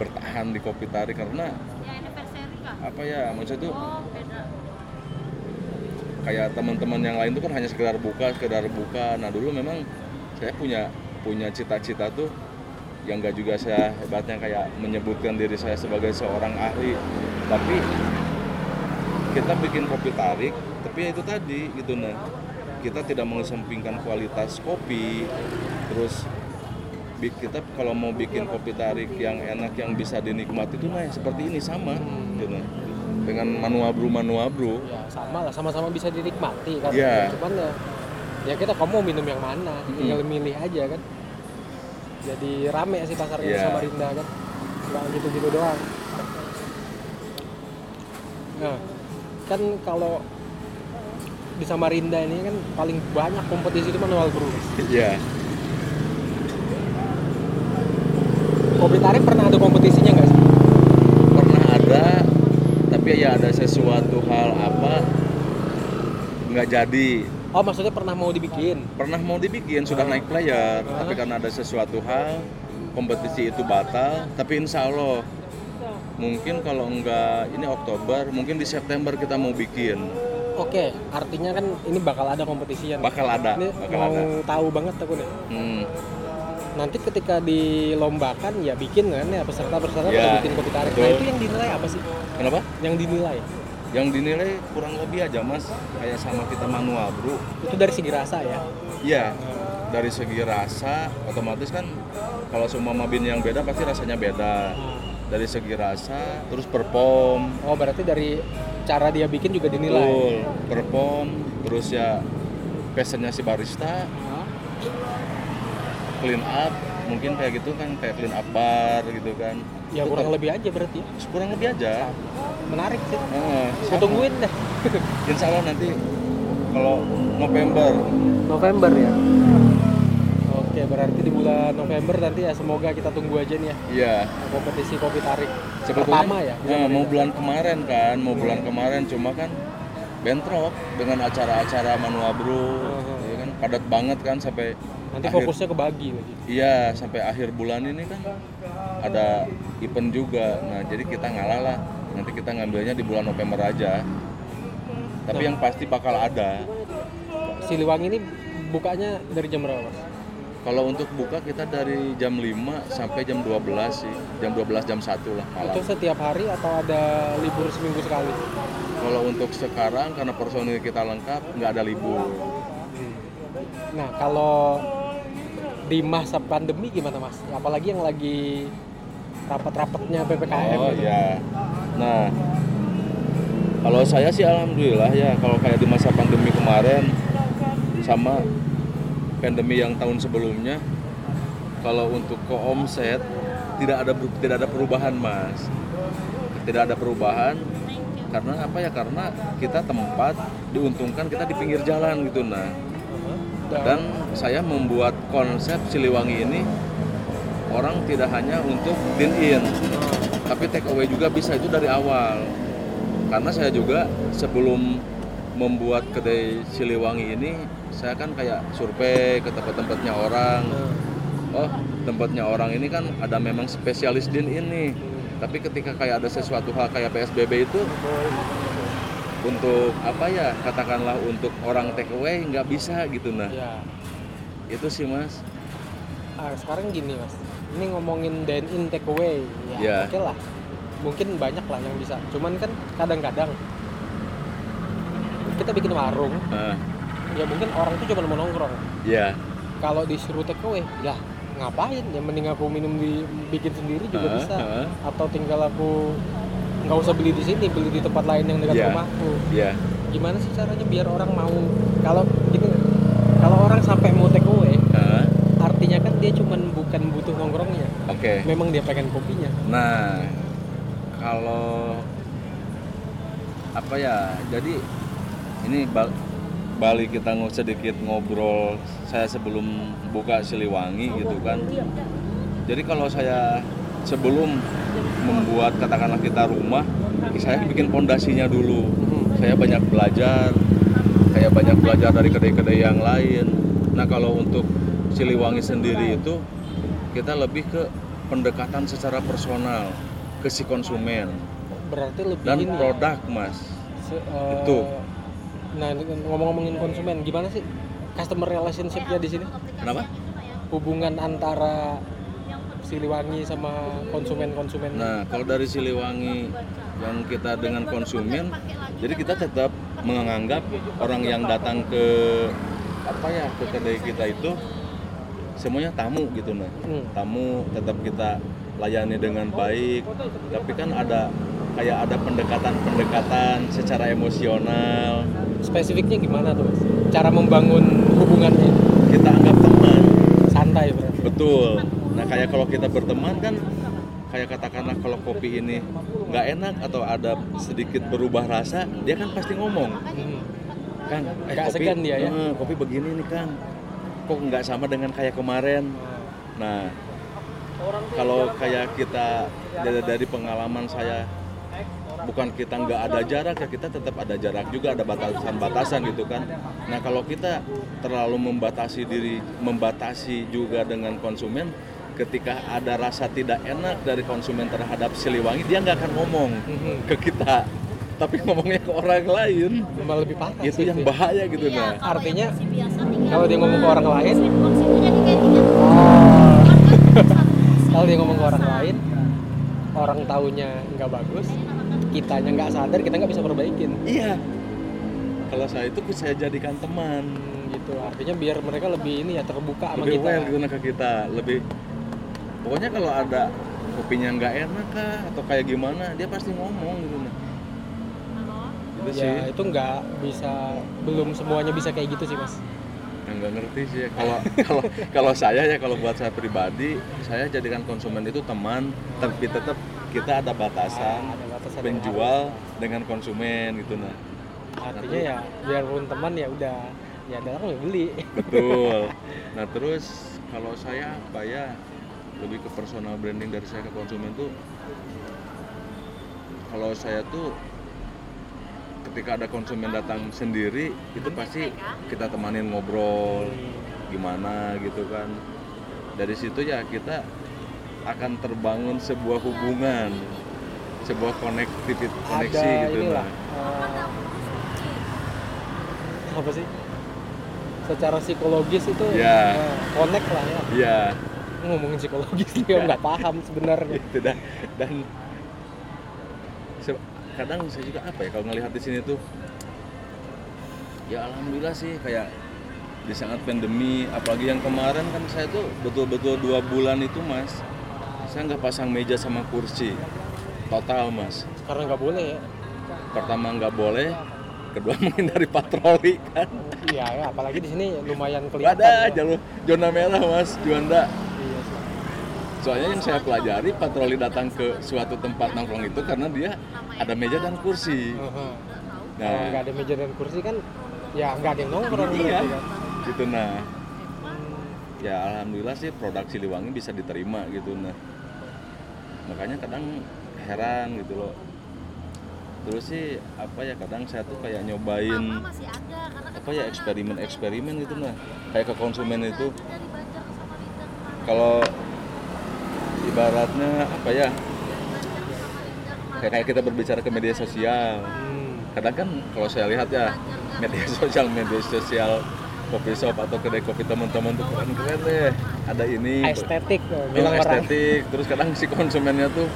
S2: bertahan di kopi tarik karena
S3: yang Ya, anniversary kah?
S2: apa ya maksud itu
S3: oh beda
S2: kayak teman-teman yang lain tuh kan hanya sekedar buka sekedar buka nah dulu memang saya punya punya cita-cita tuh yang nggak juga saya hebatnya kayak menyebutkan diri saya sebagai seorang ahli tapi kita bikin kopi tarik tapi ya itu tadi gitu nah kita tidak mengesampingkan kualitas kopi terus bi- kita kalau mau bikin kopi tarik yang enak yang bisa dinikmati tuh nah seperti ini sama gitu nah dengan manual brew manual brew
S1: ya sama lah sama-sama bisa dinikmati kan
S2: Iya.
S1: cuman ya ya kita kamu mau minum yang mana tinggal
S2: Hmm.
S1: milih aja kan jadi rame sih pasarnya
S2: Iya.
S1: sama Rinda kan nggak gitu-gitu doang nah kan kalau di Samarinda ini kan paling banyak kompetisi itu manual brew.
S2: Iya,
S1: Kopi tarik pernah ada kompetisinya nggak sih?
S2: pernah ada, tapi ya ada sesuatu hal apa nggak jadi.
S1: Oh maksudnya pernah mau dibikin?
S2: Pernah mau dibikin sudah naik player, tapi karena ada sesuatu hal kompetisi itu batal. Tapi insya Allah mungkin kalau nggak ini Oktober, mungkin di September kita mau bikin.
S1: oke artinya kan ini bakal ada kompetisian
S2: bakal ada
S1: ini
S2: bakal
S1: mau
S2: ada
S1: tahu banget aku nih
S2: hmm.
S1: nanti ketika dilombakan ya bikin kan ya peserta peserta
S2: Ya,
S1: pada bikin kopi tarik nah
S2: betul.
S1: itu yang dinilai apa sih
S2: kenapa
S1: yang dinilai
S2: yang dinilai kurang lebih aja mas kayak sama kita manual bro
S1: itu dari segi rasa ya
S2: Iya, dari segi rasa otomatis kan kalau semua mabin yang beda pasti rasanya beda. Dari segi rasa, terus perform,
S1: oh berarti dari cara dia bikin juga dinilai
S2: betul, perform, terus ya passionnya si barista,
S1: Hah?
S2: clean up, mungkin kayak gitu kan kayak clean up bar gitu kan.
S1: ya
S2: Itu
S1: kurang
S2: kan-
S1: lebih aja berarti ya.
S2: kurang lebih aja.
S1: menarik sih
S2: Heeh,
S1: Aku
S2: sama.
S1: tungguin deh
S2: Insya Allah nanti kalau November
S1: November ya oke berarti di bulan November nanti ya semoga kita tunggu aja nih ya
S2: Iya,
S1: kompetisi kopi tarik
S2: Sebetulnya,
S1: pertama ya
S2: nah, mau bulan kemarin kan, mau bulan kemarin cuma kan bentrok dengan acara-acara Manuabru,
S1: Heeh.
S2: ya kan padat banget kan sampai
S1: nanti
S2: akhir-
S1: fokusnya kebagi lagi
S2: Iya, sampai akhir bulan ini kan ada event juga. Nah, jadi kita ngalah lah. Nanti kita ngambilnya di bulan November aja. Tapi yang pasti bakal ada.
S1: Siliwangi ini bukanya dari jam berapa Mas?
S2: Kalau untuk buka kita dari jam 5 sampai jam 12 sih. Jam 12 jam 1 lah malam.
S1: Itu setiap hari atau ada libur seminggu sekali?
S2: Kalau untuk sekarang karena personil kita lengkap, nggak ada libur.
S1: Nah, kalau di masa pandemi gimana mas? Apalagi yang lagi rapat-rapatnya PPKM
S2: Oh
S1: gitu.
S2: iya. Nah, kalau saya sih alhamdulillah ya kalau kayak di masa pandemi kemarin sama pandemi yang tahun sebelumnya kalau untuk ke omset tidak ada ber- tidak ada perubahan, Mas. Tidak ada perubahan karena apa ya? Karena kita tempat diuntungkan kita di pinggir jalan gitu nah. Dan saya membuat konsep Siliwangi ini orang tidak hanya untuk dine in tapi take away juga bisa itu dari awal karena saya juga sebelum membuat kedai Siliwangi ini saya kan kayak survei ke tempat-tempatnya orang oh tempatnya orang ini kan ada memang spesialis din ini tapi ketika kayak ada sesuatu hal kayak PSBB itu untuk apa ya katakanlah untuk orang take away nggak bisa gitu nah
S1: Ya.
S2: itu sih mas
S1: Ah, sekarang gini mas, ini ngomongin dine in take away, ya
S2: Ya.
S1: oke lah, mungkin banyak lah yang bisa. Cuman kan kadang-kadang kita bikin warung,
S2: Ah,
S1: ya mungkin orang tuh cuma mau nongkrong.
S2: ya
S1: kalau disuruh take away ya ngapain ya mending aku minum di bikin sendiri juga
S2: Ah,
S1: bisa
S2: ah.
S1: atau tinggal aku nggak usah beli di sini beli di tempat lain yang dekat
S2: Iya.
S1: rumahku
S2: ya
S1: gimana sih caranya biar orang mau kalau gitu kalau orang sampai mau take away
S2: Ah,
S1: artinya kan dia cuman bukan butuh nongkrongnya
S2: oke
S1: memang dia pengen kopinya
S2: Nah, kalau apa ya? Jadi ini bal balik kita ngo- sedikit ngobrol saya sebelum buka Siliwangi gitu kan. Jadi kalau saya sebelum membuat katakanlah kita rumah, saya bikin pondasinya dulu.
S1: Hmm,
S2: Saya banyak belajar, saya banyak belajar dari kedai-kedai yang lain. Nah, kalau untuk Siliwangi sendiri itu kita lebih ke pendekatan secara personal ke si konsumen
S1: berarti lebih
S2: dan
S1: ini ya,
S2: produk mas
S1: se- eh,
S2: itu.
S1: nah ngomong-ngomongin konsumen gimana sih customer relationship-nya di sini
S2: Kenapa?
S1: hubungan antara Siliwangi sama konsumen-konsumen
S2: nah kalau dari Siliwangi yang kita dengan konsumen jadi kita tetap menganggap orang yang datang ke apa ya ke kedai kita itu semuanya tamu gitu nah
S1: Hmm.
S2: tamu tetap kita layani dengan baik tapi kan ada kayak ada pendekatan-pendekatan secara emosional
S1: spesifiknya gimana tuh Mas? cara membangun hubungannya
S2: kita anggap teman
S1: santai berarti
S2: Betul. Nah kayak kalau kita berteman kan kayak katakanlah kalau kopi ini nggak enak atau ada sedikit berubah rasa, dia kan pasti ngomong,
S1: Hmm.
S2: Kang, eh,
S1: Nggak
S2: kopi,
S1: segan dia ya?
S2: eh, kopi begini nih Kang, kok nggak sama dengan kayak kemarin. Nah kalau kayak kita dari, dari pengalaman saya bukan kita nggak ada jarak ya kita tetap ada jarak juga ada batasan-batasan gitu kan nah kalau kita terlalu membatasi diri membatasi juga dengan konsumen ketika ada rasa tidak enak dari konsumen terhadap Siliwangi dia nggak akan ngomong
S1: Mhm.
S2: ke kita tapi ngomongnya ke orang lain
S1: malah lebih parah
S2: itu
S1: sih
S2: Iya yang bahaya gitu
S3: Iya,
S2: nah
S3: kalau
S1: Artinya,
S3: yang masih biasa tinggal
S1: kalau dia ngomong ke orang
S3: sama
S1: lain-
S3: sweetbox itu jadi kayak tiga tuh.
S1: Oh.
S3: Kan kan satu kursi,
S1: kalau dia ngomong ke orang
S3: biasa.
S1: lain orang taunya nggak bagus
S3: Kayaknya nama-nama.
S1: kitanya nggak sadar kita nggak bisa perbaikin
S2: iya kalau saya itu saya jadikan teman
S1: Hmm, gitu artinya biar mereka lebih ini ya terbuka sama
S2: lebih
S1: kita
S2: aware gitu nah ke kita lebih pokoknya kalau ada kopinya nggak enak kah atau kayak gimana dia pasti ngomong gitu nah
S3: Halo?
S2: itu gitu sih
S1: ya itu nggak bisa belum semuanya bisa kayak gitu sih mas
S2: yang nggak ngerti sih ya. kalau kalau kalau saya ya kalau buat saya pribadi saya jadikan konsumen itu teman tapi tetap kita ada batasan
S1: Ah, ada batasan ya. yang
S2: penjual dengan konsumen gitu nah
S1: harus. artinya ya biarpun teman ya udah ya datang ya beli
S2: betul nah terus kalau saya apa ya lebih ke personal branding dari saya ke konsumen tuh kalau saya tuh ketika ada konsumen datang sendiri itu pasti kita temanin ngobrol gimana gitu kan dari situ ya kita akan terbangun sebuah hubungan sebuah konektivit koneksi
S1: ada
S2: gitu
S1: inilah
S2: nah
S1: eh, apa sih secara psikologis itu
S2: Ya.
S1: eh, connect lah ya
S2: iya
S1: ngomongin psikologis dia
S2: Ya.
S1: nggak paham sebenarnya
S2: gitu dah dan se- kadang saya juga apa ya kalau ngelihat di sini tuh ya alhamdulillah sih kayak di saat pandemi apalagi yang kemarin kan saya tuh betul-betul dua bulan itu mas saya nggak pasang meja sama kursi total mas
S1: karena nggak boleh ya
S2: pertama nggak boleh kedua menghindari patroli kan
S1: iya ya, apalagi di sini lumayan kelihatan ya.
S2: ada jalur zona merah mas Juanda
S1: Iya sih.
S2: Soalnya yang saya pelajari patroli datang ke suatu tempat nongkrong itu karena dia ada meja dan kursi.
S1: Heeh. Uh-huh. kalau nggak
S2: Nah,
S1: ada meja dan kursi kan ya nggak ada yang nongkrong
S2: Iya.
S1: gitu kan.
S2: gitu nah. Ya alhamdulillah sih produk Siliwangi bisa diterima gitu nah. Makanya kadang heran gitu loh. Terus sih apa ya kadang saya tuh kayak
S1: Iya.
S3: Mama
S2: nyobain
S3: masih ada karena kan
S2: apa ya eksperimen-eksperimen gitu nah. Kayak ke konsumen itu
S3: kita dari Banjar ke Samarinda kemarin.
S2: kalau ibaratnya apa ya
S3: Dari Banjar ke Samarinda kemarin.
S2: kayak kayak kita berbicara ke media sosial.
S1: Hmm.
S2: kadang kan kalau saya lihat ya media sosial media sosial kopi shop atau kedai kopi teman-teman tuh keren keren deh ada ini
S1: estetik eh,
S2: Oh,
S1: bilang orang
S2: estetik terus kadang si konsumennya tuh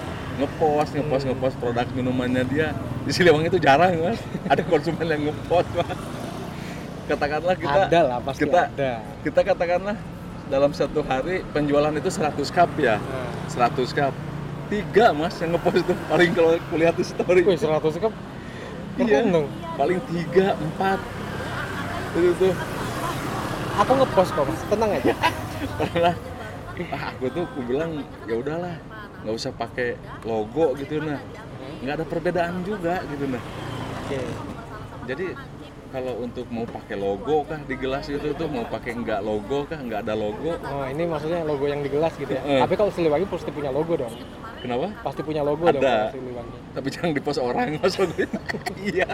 S2: ngepost ngepost
S1: Hmm.
S2: ngepost produk minumannya dia di Siliwangi itu jarang mas ada konsumen yang ngepost mas katakanlah kita
S1: ada lah pasti
S2: kita
S1: ada
S2: kita katakanlah dalam satu hari penjualan itu 100 cup ya
S1: nah.
S2: 100 cup tiga mas yang ngepost tuh paling kalau kulihat di story
S1: Wih, 100 cup
S2: Iya.
S1: keren dong
S2: paling tiga empat itu tuh Iya.
S1: aku ngepost kok mas tenang aja
S2: pernah ah, aku tuh aku bilang ya udahlah nggak usah pakai logo gitu nah nggak ada perbedaan juga gitu nah
S1: oke
S2: jadi kalau untuk mau pakai logo kah di gelas itu tuh mau pakai nggak logo kah nggak ada logo
S1: oh ini maksudnya logo yang di gelas gitu ya
S2: Heeh.
S1: tapi kalau Siliwangi pasti punya logo dong
S2: kenapa
S1: pasti punya logo dong kalau
S2: Ada.
S1: Siliwangi
S2: tapi jangan di post orang mas logo itu iya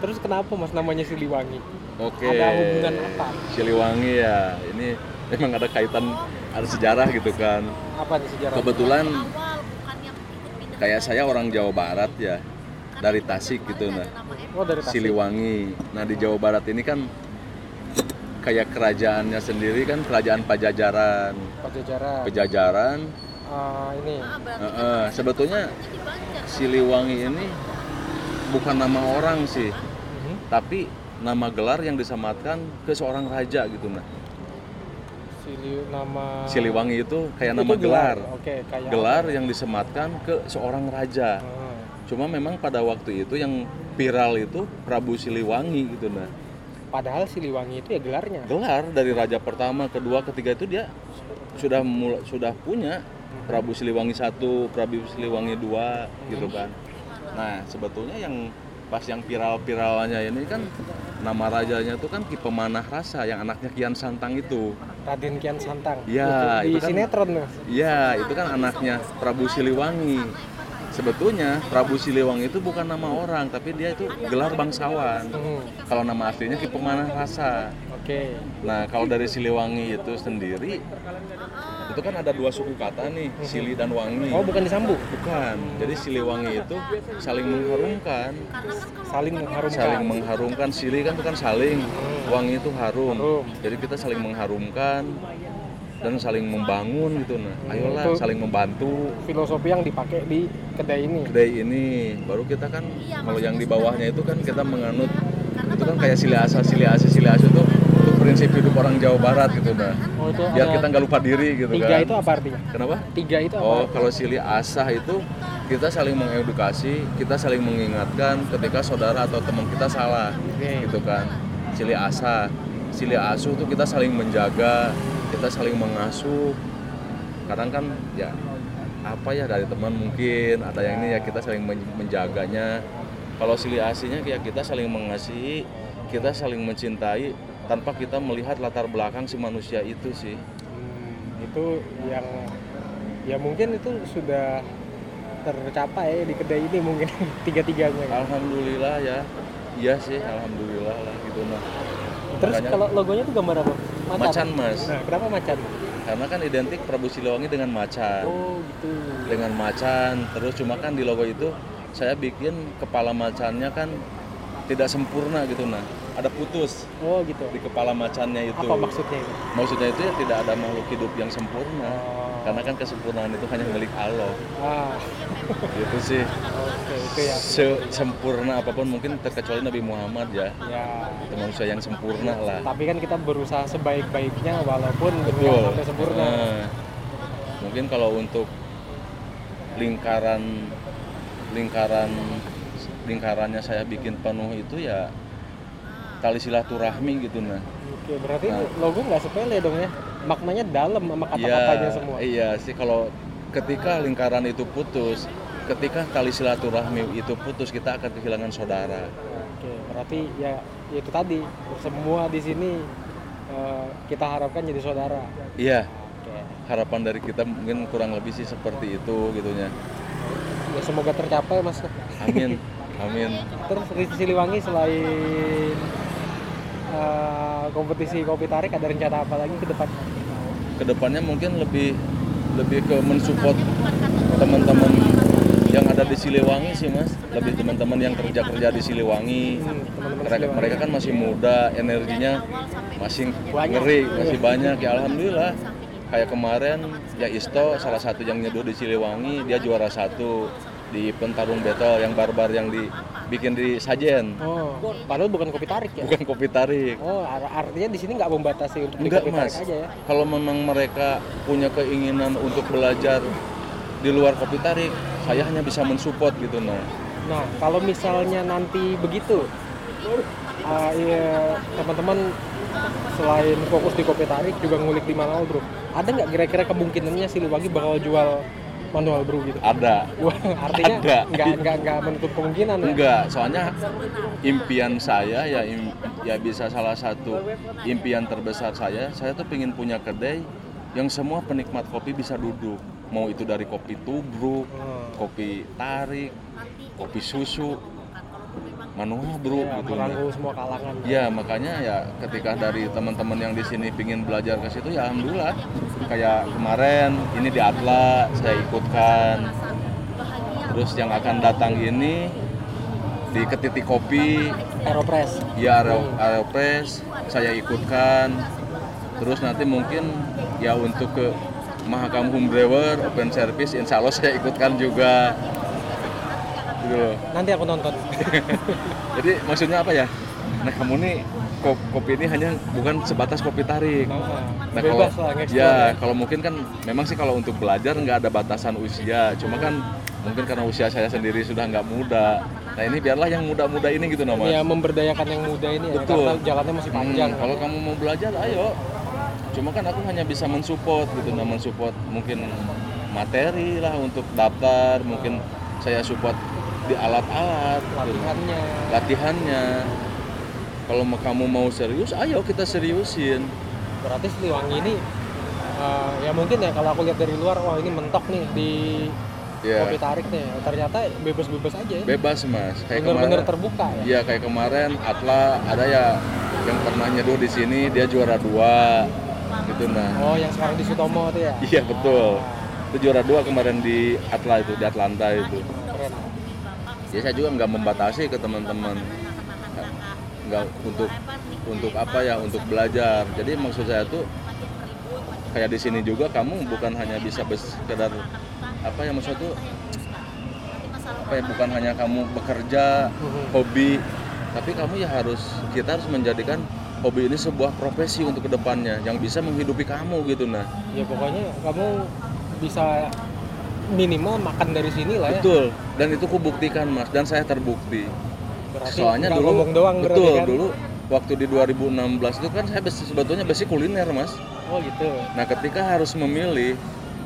S1: terus kenapa mas namanya Siliwangi
S2: oke
S1: Ada hubungan apa?
S2: Siliwangi ya ini memang ada kaitan ada sejarah gitu kan
S1: apa nih sejarah
S2: kebetulan
S3: awal bukan yang ikut pindah
S2: kayak saya orang Jawa Barat ya dari Tasik gitu nah
S3: nama Em.
S1: oh dari Tasik
S2: Siliwangi nah di Jawa Barat ini kan kayak kerajaannya sendiri kan kerajaan Pajajaran
S1: Pajajaran
S2: Pajajaran
S1: Ah, ini
S3: Ah, berarti
S2: eh, eh, sebetulnya
S3: dia di Banjar.
S2: Siliwangi ini bukan nama orang sih Hmm?
S1: Mhm.
S2: tapi nama gelar yang disematkan ke seorang raja gitu nah
S1: Sili nama
S2: Siliwangi itu kayak
S1: Itu
S2: ya, nama gelar
S1: oke kayak
S2: gelar yang disematkan ke seorang raja
S1: Ah,
S2: Cuma memang pada waktu itu yang viral itu Prabu Siliwangi gitu nah.
S1: padahal Siliwangi itu ya gelarnya
S2: Gelar dari raja pertama, kedua, ketiga itu dia sudah mula- sudah punya Prabu Siliwangi satu, Prabu Siliwangi dua gitu kan. Nah, sebetulnya yang pas yang viral-viralnya ini kan nama rajanya itu kan Ki Pemanah Rasa yang anaknya Kian Santang itu.
S1: Raden Kian Santang
S2: Ya,
S1: di
S2: itu kan-
S1: sinetron Mas.
S2: Iya, itu kan anaknya Prabu Siliwangi. Sebetulnya Prabu Siliwang itu bukan nama orang, tapi dia itu gelar bangsawan.
S1: Hmm.
S2: Kalau nama aslinya Ki Pemanah Rasa.
S1: Oke.
S2: Nah, kalau dari Siliwangi itu sendiri itu kan ada dua suku kata nih, Sili dan Wangi.
S1: Oh, bukan disambung.
S2: Bukan. Jadi Siliwangi itu saling mengharumkan.
S3: karena kan kalau
S1: Saling mengharumkan. Hmm.
S2: Saling mengharumkan. Sili kan bukan saling, Wangi itu harum.
S1: Harum.
S2: Jadi kita saling mengharumkan dan saling membangun gitu nah.
S1: Hmm,
S2: Ayolah
S1: itu-
S2: saling membantu.
S1: Filosofi yang dipakai di kedai ini.
S2: Kedai ini baru kita kan
S3: Iya,
S2: kalau yang
S3: maksudnya
S2: di bawahnya itu kan kita menganut
S3: karena
S2: itu kan kayak sili asa sili asa sili asa itu itu
S3: Iya.
S2: prinsip hidup orang Jawa Barat gitu nah.
S3: kan?
S1: Oh, itu
S2: Biar
S1: ada
S2: kita nggak lupa diri gitu
S1: tiga itu
S2: kan.
S1: apa artinya?
S2: Kenapa?
S1: Tiga itu apa?
S2: Oh, kalau silih asah itu kita saling mengedukasi, kita saling mengingatkan ketika saudara atau teman kita salah,
S1: Oke.
S2: gitu kan. Silih asah, silih asuh itu kita saling menjaga, kita saling mengasuh. Kadang kan ya apa ya dari teman mungkin ada yang ini ya kita saling men- menjaganya. Kalau silih asihnya ya kita saling mengasihi, kita saling mencintai tanpa kita melihat latar belakang si manusia itu sih.
S1: Hmm, itu yang ya mungkin itu sudah tercapai di kedai ini mungkin tiga-tiganya.
S2: Ah,
S1: kan.
S2: Alhamdulillah ya. Iya sih, alhamdulillah lah gitu nah.
S1: Terus
S2: makanya-
S1: kalau logonya itu gambar apa?
S2: Macan, Mas.
S1: Nah, kenapa macan?
S2: Karena kan identik Prabu Siliwangi dengan macan.
S1: Oh, gitu.
S2: Dengan macan, terus cuma kan di logo itu saya bikin kepala macannya kan tidak sempurna gitu nah. Ada putus
S1: Oh, gitu.
S2: di kepala macannya itu.
S1: Apa maksudnya ini?
S2: Maksudnya itu ya tidak ada makhluk hidup yang sempurna.
S1: Oh.
S2: Karena kan kesempurnaan itu hanya milik Allah.
S1: Ah,
S2: Gitu sih.
S1: oke, itu ya.
S2: Sempurna apapun mungkin terkecuali Nabi Muhammad ya.
S1: Ya,
S2: Itu manusia yang sempurna lah.
S1: tapi kan kita berusaha sebaik-baiknya walaupun
S2: Betul.
S1: nggak sampai sempurna.
S2: Nah, mungkin kalau untuk lingkaran lingkaran lingkarannya saya bikin penuh itu ya tali silaturahmi gitu nah.
S1: Oke, berarti
S2: Nah.
S1: logo nggak sepele dong ya. Maknanya dalam sama kata-katanya
S2: Iya,
S1: semua.
S2: iya sih kalau ketika lingkaran itu putus, ketika tali silaturahmi itu putus kita akan kehilangan saudara.
S1: Oke, berarti ya itu tadi semua di sini eh, kita harapkan jadi saudara.
S2: Iya,
S1: Oke.
S2: harapan dari kita mungkin kurang lebih sih seperti itu gitunya.
S1: Ya semoga tercapai Mas.
S2: Amin. Amin.
S1: Terus di Siliwangi selain eh, kompetisi kopi tarik ada rencana apa lagi ke depan?
S2: Kedepannya mungkin lebih lebih ke mensupport
S3: bukan kata
S2: teman-teman yang ada di Siliwangi sih mas lebih teman-teman yang kerja-kerja di Siliwangi
S1: Teman-teman
S2: mereka,
S1: Siliwangi.
S2: mereka kan masih muda energinya
S3: awal sampai
S2: masih
S1: Banyak.
S2: ngeri masih banyak ya alhamdulillah kayak kemarin ya Isto salah satu yang nyeduh di Siliwangi dia juara satu di pentarung battle yang barbar yang dibikin di Sajen
S1: Oh, padahal bukan kopi tarik ya.
S2: bukan kopi tarik
S1: Oh, ar- artinya di sini nggak membatasi untuk di
S2: Enggak
S1: kopi
S2: mas,
S1: tarik aja ya.
S2: kalau memang mereka punya keinginan untuk belajar di luar kopi tarik, saya hanya bisa mensupport gitu nah.
S1: Nah, kalau misalnya nanti begitu, ah, iya, teman-teman selain fokus di kopi tarik juga ngulik di manual bro. Ada nggak kira-kira kemungkinannya Siliwangi bakal jual manual bro gitu?
S2: Ada,
S1: Wah, artinya
S2: Ada.
S1: nggak nggak nggak menutup kemungkinan ya?
S2: enggak, soalnya impian saya ya im- ya bisa salah satu impian terbesar saya, saya tuh pengen punya kedai yang semua penikmat kopi bisa duduk, mau itu dari kopi tubruk,
S1: Hmm.
S2: kopi tarik, kopi susu, manual bro
S1: Ya,
S2: gitu. nah.
S1: merangkul semua kalangan.
S2: Ya makanya ya ketika dari teman-teman yang di sini pingin belajar ke situ ya alhamdulillah kayak kemarin ini di Atla saya ikutkan terus yang akan datang ini di Ketiti Kopi
S1: Aeropress.
S2: ya Aero- Aeropress saya ikutkan terus nanti mungkin ya untuk ke Mahakam Home Brewer Open Service insya Allah saya ikutkan juga gitu loh.
S1: Nanti aku nonton.
S2: Jadi maksudnya apa ya? Nah kamu nih ko- kopi ini hanya bukan sebatas kopi tarik. Nah, kalau,
S1: Bebas lah, nge-explore
S2: ya
S1: ya.
S2: kalau mungkin kan memang sih kalau untuk belajar nggak ada batasan usia. Cuma kan mungkin karena usia saya sendiri sudah nggak muda. Nah ini biarlah yang muda-muda ini gitu nama.
S1: Ya memberdayakan yang muda ini ya,
S2: Betul. Hmm,
S1: karena jalannya masih panjang.
S2: kalau kamu mau belajar, ayo. Cuma kan aku hanya bisa mensupport gitu, nah mensupport mungkin materi lah untuk daftar, mungkin saya support di alat-alat. gitu
S1: latihannya.
S2: latihannya kalau mau- kamu mau serius ayo kita seriusin
S1: berarti Siliwangi ini eh, ya mungkin ya kalau aku lihat dari luar wah ini mentok nih di
S2: Iya.
S1: kopi tarik nih ternyata bebas-bebas aja ya
S2: bebas mas kayak
S1: bener-bener
S2: kemarin
S1: terbuka ya
S2: Iya kayak kemarin Atla ada ya yang pernah nyeduh di sini dia juara dua gitu nah
S1: oh yang sekarang di Sutomo itu ya
S2: Iya, betul.
S1: Ah,
S2: itu juara dua kemarin di Atla itu di Atlanta itu
S1: Nah, keren
S2: ya saya juga nggak membatasi ke teman-teman nggak untuk untuk apa ya untuk belajar jadi maksud saya tuh kayak di sini juga kamu bukan hanya bisa bes- sekedar apa ya maksud tuh apa ya bukan hanya kamu bekerja
S1: Mhm.
S2: hobi tapi kamu ya harus kita harus menjadikan hobi ini sebuah profesi untuk kedepannya yang bisa menghidupi kamu gitu nah
S1: ya pokoknya kamu bisa minimal makan dari sini lah ya
S2: betul dan itu kubuktikan mas dan saya terbukti
S1: berarti
S2: soalnya
S1: nggak
S2: dulu
S1: ngomong doang berarti
S2: betul
S1: kan?
S2: dulu waktu di 2016 itu kan saya besi, sebetulnya besi kuliner mas
S1: oh gitu
S2: nah ketika harus memilih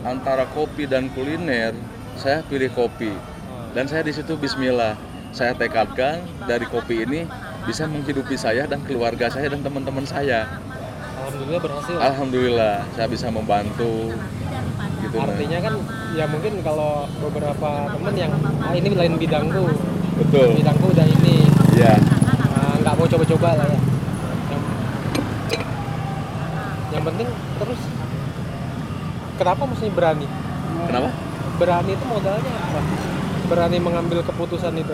S2: antara kopi dan kuliner saya pilih kopi
S1: Ah,
S2: dan saya di situ Bismillah saya tekadkan dari kopi ini bisa menghidupi saya dan keluarga saya dan teman-teman saya
S1: alhamdulillah berhasil
S2: alhamdulillah saya bisa membantu gitu nah
S1: artinya kan ya mungkin kalau beberapa temen yang ah ini lain bidangku
S2: betul
S1: bidangku udah ini
S2: ya
S1: Ah, nggak mau coba-coba lah ya yang, yang penting terus kenapa mesti berani
S2: kenapa
S1: berani itu modalnya apa berani mengambil keputusan itu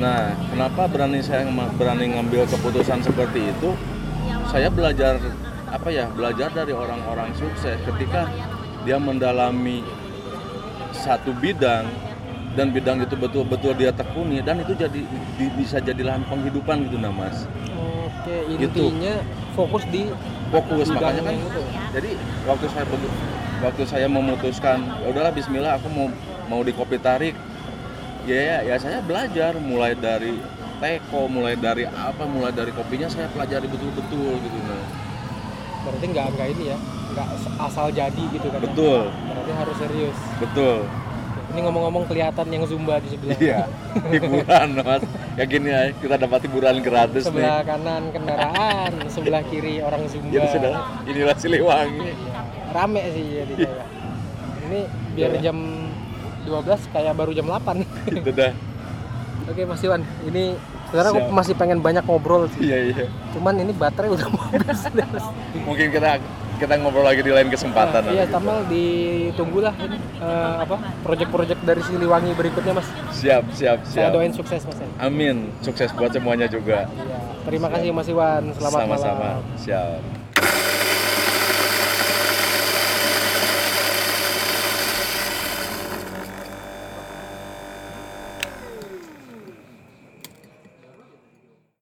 S2: nah kenapa berani saya ngema- berani ngambil keputusan seperti itu saya belajar apa ya belajar dari orang-orang sukses ketika dia mendalami satu bidang dan bidang itu betul-betul dia tekuni dan itu jadi di- bisa jadi lahan penghidupan gitu nah mas
S1: oke
S2: Gitu.
S1: intinya fokus di
S2: fokus makanya kan
S1: bidangnya itu.
S2: jadi waktu saya begu- waktu saya memutuskan ya udahlah Bismillah aku mau mau di kopi tarik ya, ya ya saya belajar mulai dari teko mulai dari apa mulai dari kopinya saya pelajari betul-betul gitu nah
S1: berarti nggak nggak ini ya nggak asal jadi gitu kan ya.
S2: betul
S1: berarti harus serius
S2: betul
S1: ini ngomong-ngomong kelihatan yang zumba di sebelah
S2: Iya, hiburan mas. Ya gini ya, kita dapat hiburan gratis
S1: sebelah
S2: nih.
S1: kanan kendaraan sebelah kiri
S2: Iya,
S1: orang zumba
S2: Jadi Ya sudah, inilah Siliwangi.
S1: rame sih jadi kayak. ini biar
S2: Udah.
S1: jam 12 kayak baru jam 8
S2: Itu dah.
S1: oke Mas Iwan ini sebenarnya aku
S2: Siap.
S1: masih pengen banyak ngobrol sih
S2: Iya iya.
S1: cuman ini baterai udah mau habis
S2: Mungkin kita kita ngobrol lagi di lain kesempatan.
S1: iya
S2: nanti.
S1: tamal ditunggulah ini eh, apa proyek-proyek dari Siliwangi berikutnya Mas
S2: Siap siap
S1: saya
S2: siap.
S1: doain sukses Mas ya.
S2: Amin. Sukses buat semuanya juga.
S1: Iya. terima kasih Mas Iwan selamat malam
S2: Sama-sama. Siap.